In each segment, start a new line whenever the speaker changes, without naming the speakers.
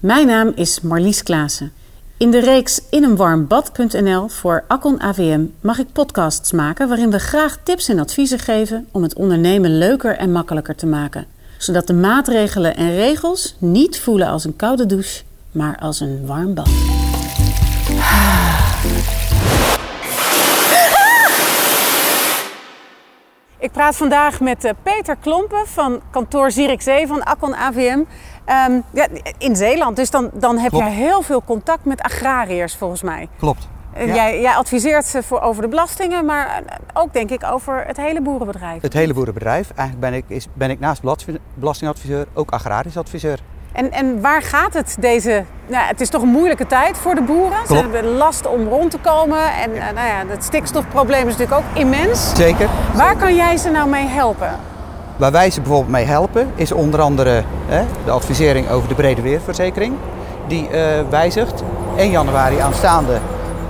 Mijn naam is Marlies Klaassen. In de reeks ineenwarmbad.nl voor Akon AVM mag ik podcasts maken waarin we graag tips en adviezen geven om het ondernemen leuker en makkelijker te maken. Zodat de maatregelen en regels niet voelen als een koude douche, maar als een warm bad. Ik praat vandaag met eh, Peter Klompen van kantoor Zierikzee van Akon AVM. Ehm, ja, in Zeeland, dus dan, dan heb
Klopt.
jij heel veel contact met agrariërs volgens mij.
Klopt.
Eh,
Ja.
Jij, jij adviseert ze voor, over de belastingen, maar eh, ook denk ik over het hele boerenbedrijf.
Het hele boerenbedrijf. Eigenlijk ben ik, is, ben ik naast belas- belastingadviseur ook agrarisch adviseur.
En, en waar gaat het deze... Nou, het is toch een moeilijke tijd voor de boeren. Ze
Klopt.
hebben last om rond te komen. En eh, nou ja, het stikstofprobleem is natuurlijk ook immens.
Zeker.
Waar kan jij ze nou mee helpen?
Waar wij ze bijvoorbeeld mee helpen is onder andere hè, de advisering over de brede weerverzekering. Die eh, wijzigt 1 januari aanstaande.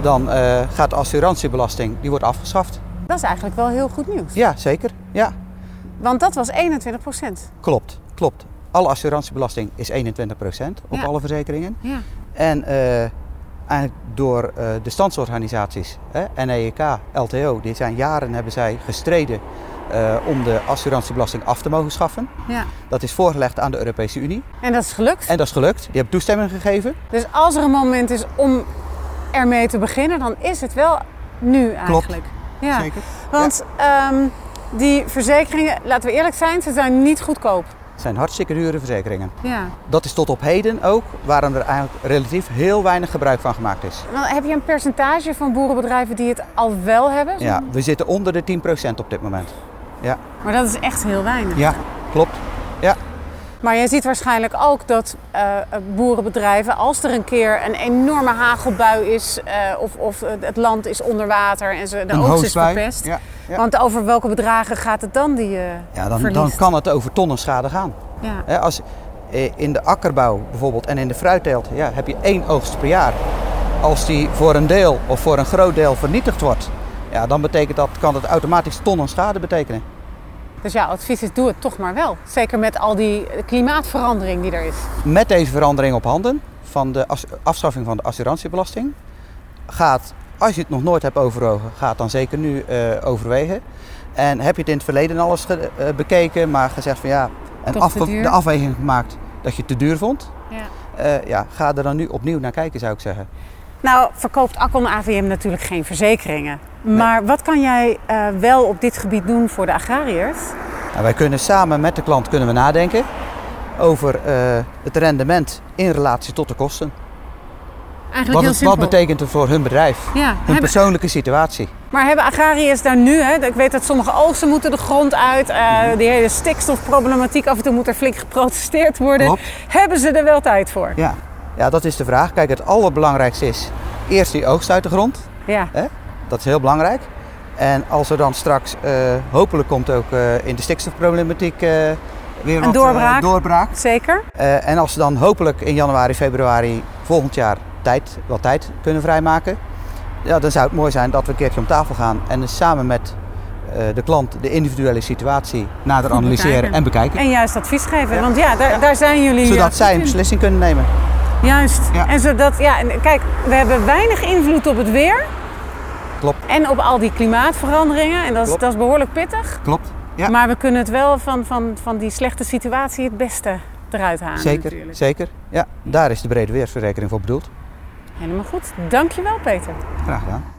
Dan eh, gaat de assurantiebelasting, die wordt afgeschaft.
Dat is eigenlijk wel heel goed nieuws.
Ja, zeker. Ja,
Want dat was 21 procent.
klopt. Klopt. Alle assurantiebelasting is 21% op
Ja.
alle verzekeringen.
Ja.
En eh, eigenlijk door eh, de standsorganisaties, hè, E NEK, LTO, die zijn jaren hebben zij gestreden eh, om de assurantiebelasting af te mogen schaffen.
ja.
Dat is voorgelegd aan de Europese Unie.
En dat is gelukt.
En dat is gelukt. Die hebben toestemming gegeven.
Dus als er een moment is om ermee te beginnen, dan is het wel nu eigenlijk. Ja.
Zeker.
Want ehm, die verzekeringen, laten we eerlijk zijn, ze zijn niet goedkoop.
Het zijn hartstikke dure verzekeringen.
Ja.
Dat is tot op heden ook waarom er eigenlijk relatief heel weinig gebruik van gemaakt is.
Dan heb je een percentage van boerenbedrijven die het al wel hebben?
Ja, we zitten onder de 10% op dit moment. Ja,
Maar dat is echt heel weinig.
ja klopt. Ja.
Maar je ziet waarschijnlijk ook dat eh, boerenbedrijven, als er een keer een enorme hagelbui is eh, of, of het land is onder water en ze, de
Een
oogst is
hoosbui.
verpest.
Ja, ja.
Want over welke bedragen gaat het dan die je
Ja, dan, dan
verliest?
kan het over tonnen schade gaan.
Ja.
Hè, als, eh, in de akkerbouw bijvoorbeeld en in de fruitteelt ja, heb je één oogst per jaar. Als die voor een deel of voor een groot deel vernietigd wordt, ja, dan betekent dat, kan dat automatisch tonnen schade betekenen.
Dus ja, advies is doe het toch maar wel. Zeker met al die klimaatverandering die er is.
Met deze verandering op handen van de as- afschaffing van de assurantiebelasting gaat, als je het nog nooit hebt overwogen, gaat dan zeker nu eh, overwegen. En heb je het in het verleden al eens ge- eh, bekeken, maar gezegd van ja, en
Toch te duur?
de afweging gemaakt dat je het te duur vond,
Ja.
eh, ja, ga er dan nu opnieuw naar kijken zou ik zeggen.
Nou, verkoopt Accon AVM natuurlijk geen verzekeringen. Maar wat kan jij eh, wel op dit gebied doen voor de agrariërs?
Nou, wij kunnen samen met de klant kunnen we nadenken over eh, het rendement in relatie tot de kosten.
Eigenlijk
Wat, het- wat betekent het voor hun bedrijf,
Ja,
hun
hebben-
persoonlijke situatie?
Maar hebben agrariërs daar nu, hè? ik weet dat sommige oogsten moeten de grond uit, eh,
Mhm.
die hele stikstofproblematiek, af en toe moet er flink geprotesteerd worden.
Klopt.
Hebben ze er wel tijd voor?
Ja. ja, dat is de vraag. Kijk, het allerbelangrijkste is eerst die oogst uit de grond.
Ja.
Hè? Dat is heel belangrijk. En als er dan straks, eh, hopelijk komt ook eh, in de stikstofproblematiek eh, weer wat, eh,
doorbraak.
doorbraak.
Zeker?
Eh, en als ze dan hopelijk in januari, februari volgend jaar tijd, wat tijd kunnen vrijmaken. Ja, dan zou het mooi zijn dat we een keertje om tafel gaan en dus samen met eh, de klant de individuele situatie nader analyseren
bekijken.
en bekijken.
En juist advies geven, want ja, daar, daar zijn jullie. eh,
zodat
goed
zij een
in.
beslissing kunnen nemen.
Juist.
Ja.
En zodat, ja, en kijk, we hebben weinig invloed op het weer
Klopt,
en op al die klimaatveranderingen. En dat is,
Klopt.
dat is behoorlijk pittig.
klopt. Ja,
Maar we kunnen het wel van, van, van die slechte situatie het beste eruit halen.
zeker,
natuurlijk.
zeker. Ja, daar is de brede weersverzekering voor bedoeld.
Helemaal goed. Dankjewel, Peter.
Graag gedaan.